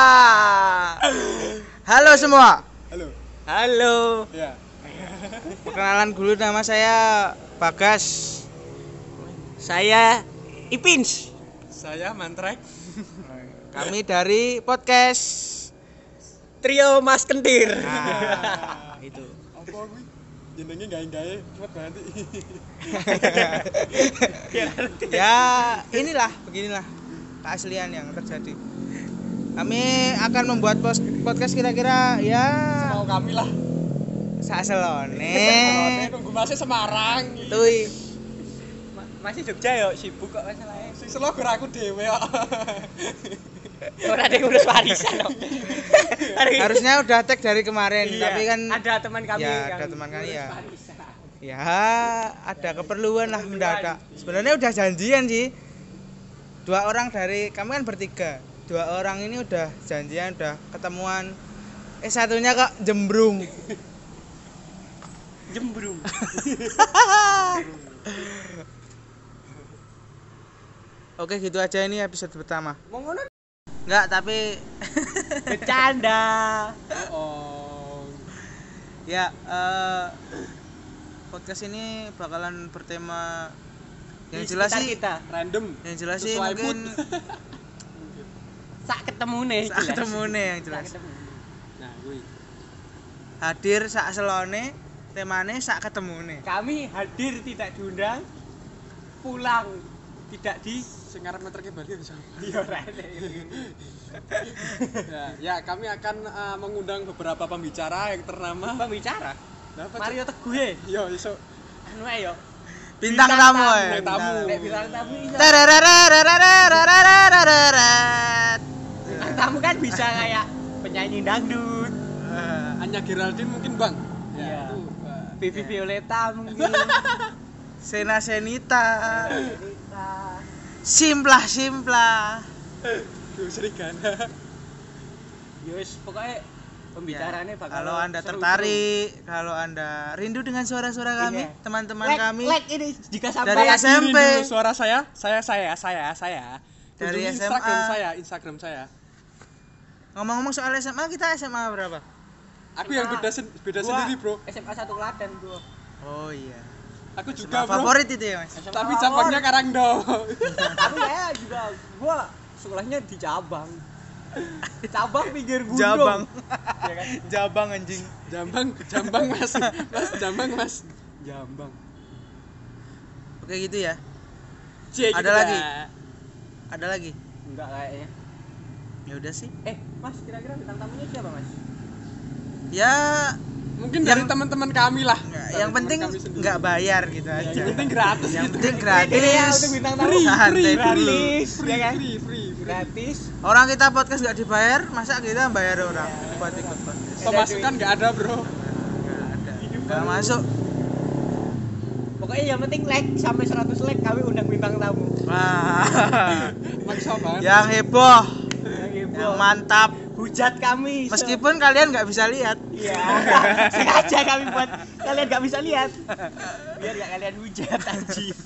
Halo semua. Halo. Halo. Ya. Perkenalan dulu nama saya Bagas. Saya Ipins. Saya Mantrek. Kami dari podcast Trio Mas Kentir. Nah, itu. Apa kuwi? Jenenge gawe-gawe cepet banget. ya, inilah beginilah keaslian yang terjadi. Kami akan membuat pos- podcast kira-kira ya Mau kami lah. saselone. nunggu masih Semarang. Tui. Masih Jogja yo sibuk kok masalahnya. Sing selo gur aku dhewe kok. Ora ada yang ngurus warisan kok. Harus Harusnya udah tag dari kemarin, Iya, tapi kan ada teman kami Ya, yang ada teman kami, ngurus ya. warisan. ya ada keperluan lah mendadak. Sebenarnya udah janjian sih. Dua orang dari kami kan bertiga. Dua orang ini udah janjian, udah ketemuan. Eh satunya kok jembrung. Jembrung. Oke, gitu aja ini episode pertama. Mau ngono? Enggak, tapi Bercanda. Oh. ya eh, podcast ini bakalan bertema yang Di jelas sekitar sih kita. Random. yang jelas sih Sesuai mood. mungkin Sak ketemu nih. saat ketemu nih yang Sak jelas ketemu. Nah, kuwi. hadir saat selone temane saat ketemu nih Kami hadir tidak diundang. Pulang tidak di Sing arep Mantrek Bali ya, siapa? Diorain. Nah, ya, kami akan eh, mengundang beberapa pembicara yang ternama. Pembicara. Nah, apa, Cuk? Mario Teguh. Yo, iso. Anu ae yo. bintang tamu ya bintang tamu. Nek bilang tamu iya. iso. Terererererererereret. Bintang tamu kan bisa kayak penyanyi dangdut. Eh, Anya Geraldine mungkin, Bang. Iya. itu, eh, Vivi Violeta mungkin. Sena Senita Simplah Simplah Duh, Serigana. Yus, pokoknya Ya pembicaraannya Ya, bakal Kalau Anda seru-seru. tertarik Kalau Anda rindu dengan suara-suara kami Iya. Teman-teman Like, kami like ini jika sampai Dari lagi SMP. Ini rindu. suara saya, saya saya saya saya. Dari Kunjungi SMA. Instagram saya, Instagram saya. Ngomong-ngomong soal SMA Kita SMA berapa? Aku yang beda sen- beda Gua sendiri, Bro. SMA 1 Klaten gua. Oh iya Aku juga, SMA Bro. favorit itu ya mas SMA Tapi Favorit. cabangnya Karangdong. Tapi ya juga gua sekolahnya di cabang. Cabang pinggir gunung. Jabang Ya kan? Jabang anjing Jambang, Jambang Mas. Mas Jambang Mas. Jambang. Oke gitu ya Cek Ada lagi? Ada lagi? Enggak kayaknya. Ya udah sih Eh, Mas kira-kira bintang tamunya siapa, Mas? Ya Mungkin dari Yang- teman-teman kami lah. Dari yang teman penting kami sendiri. nggak bayar gitu Ya, aja yang penting gratis. yang gitu. penting Iya, gratis untuk bintang tamu. Free, santai free, dulu gratis, ya free, kan? free, free, free. Gratis. orang kita podcast nggak dibayar masa kita bayar orang buat ikut podcast Pemasukan nggak ada, Bro. nggak ada nggak masuk Pokoknya yang penting like sampai 100 like kami undang bintang tamu. wah Maksa banget. yang heboh Yang yang heboh. mantap Gitu. Hujat kami. se- meskipun kalian nggak bisa lihat Iya. Sengaja kami buat kalian gak bisa lihat. Biar gak kalian hujat anjir.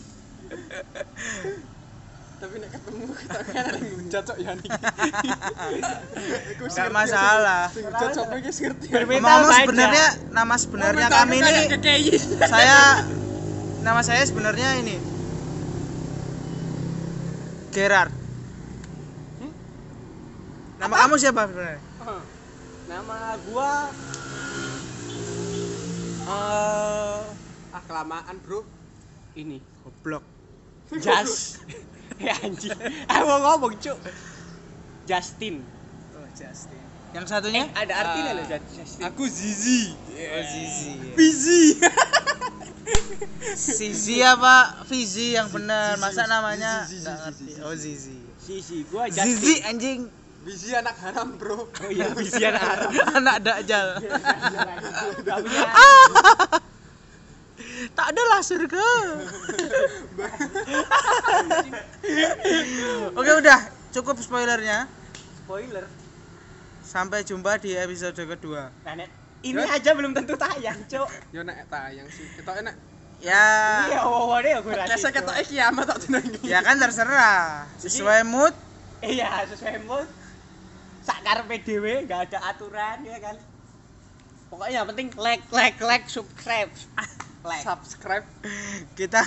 Tapi nek ketemu kita kan ada yang ngejat, Cok, ya nih. Aku Nggak ngerti, masalah. aku. Sing ngejat sampai guys ngerti. Berbeda. ngomong banyak. sebenarnya nama sebenarnya kami ini Eh, saya nama saya sebenarnya ini Gerard Hmm? nama kamu siapa sebenarnya Nama gua eh Ah kelamaan, Bro. ini goblok Jas. ya anjir. Aku mau ngomong, Cuk. Justin. oh, Justin yang satunya Ada artinya Ah. loh Jas- Justin. Aku Eh, Zizi. Oh, Zizi. Busy. Zizi apa Fizi yang benar. Masa namanya enggak Zizi, Zizi, Zizi, ngerti. Zizi. Oh, Zizi. Si si gua Zizi Justin. anjing. Busy anak haram, Bro. Oh iya, bisian Arab. Anak Dajjal. Gak punya. tak ada lah surga. Oke, udah. Cukup spoilernya. Spoiler. Sampai jumpa di episode kedua. Nah, Nek, ini aja belum tentu tayang, Cuk. Yo nek tayang sih. Ketok enak. Ya, Iya, wawane ya gue rasa. Kese ketok kiamat tak jenengi. ya kan terserah. Sesuai mood, iya sesuai mood sakar PDW nggak ada aturan ya kan pokoknya yang penting like like like subscribe like subscribe Kita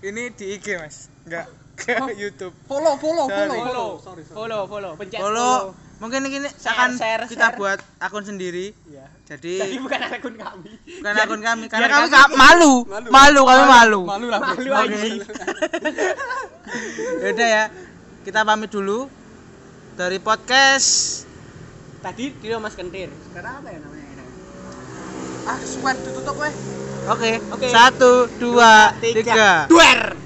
ini di IG, Mas. Enggak ke Oh. YouTube. follow follow Sorry. follow follow sorry sorry follow follow pencet Follow mungkin ini Share, akan share, kita share. buat akun sendiri. Iya. jadi Jadi bukan akun kami bukan Jadi- akun kami biar karena kami nggak malu. Malu. Malu, kami malu. malu lah Bro. Malu Malu. anjing. Ya udah ya. Kita pamit dulu dari podcast tadi dia mas kentir sekarang apa ya namanya ah swear ditutup weh Oke, Oke. satu, dua, tiga. duer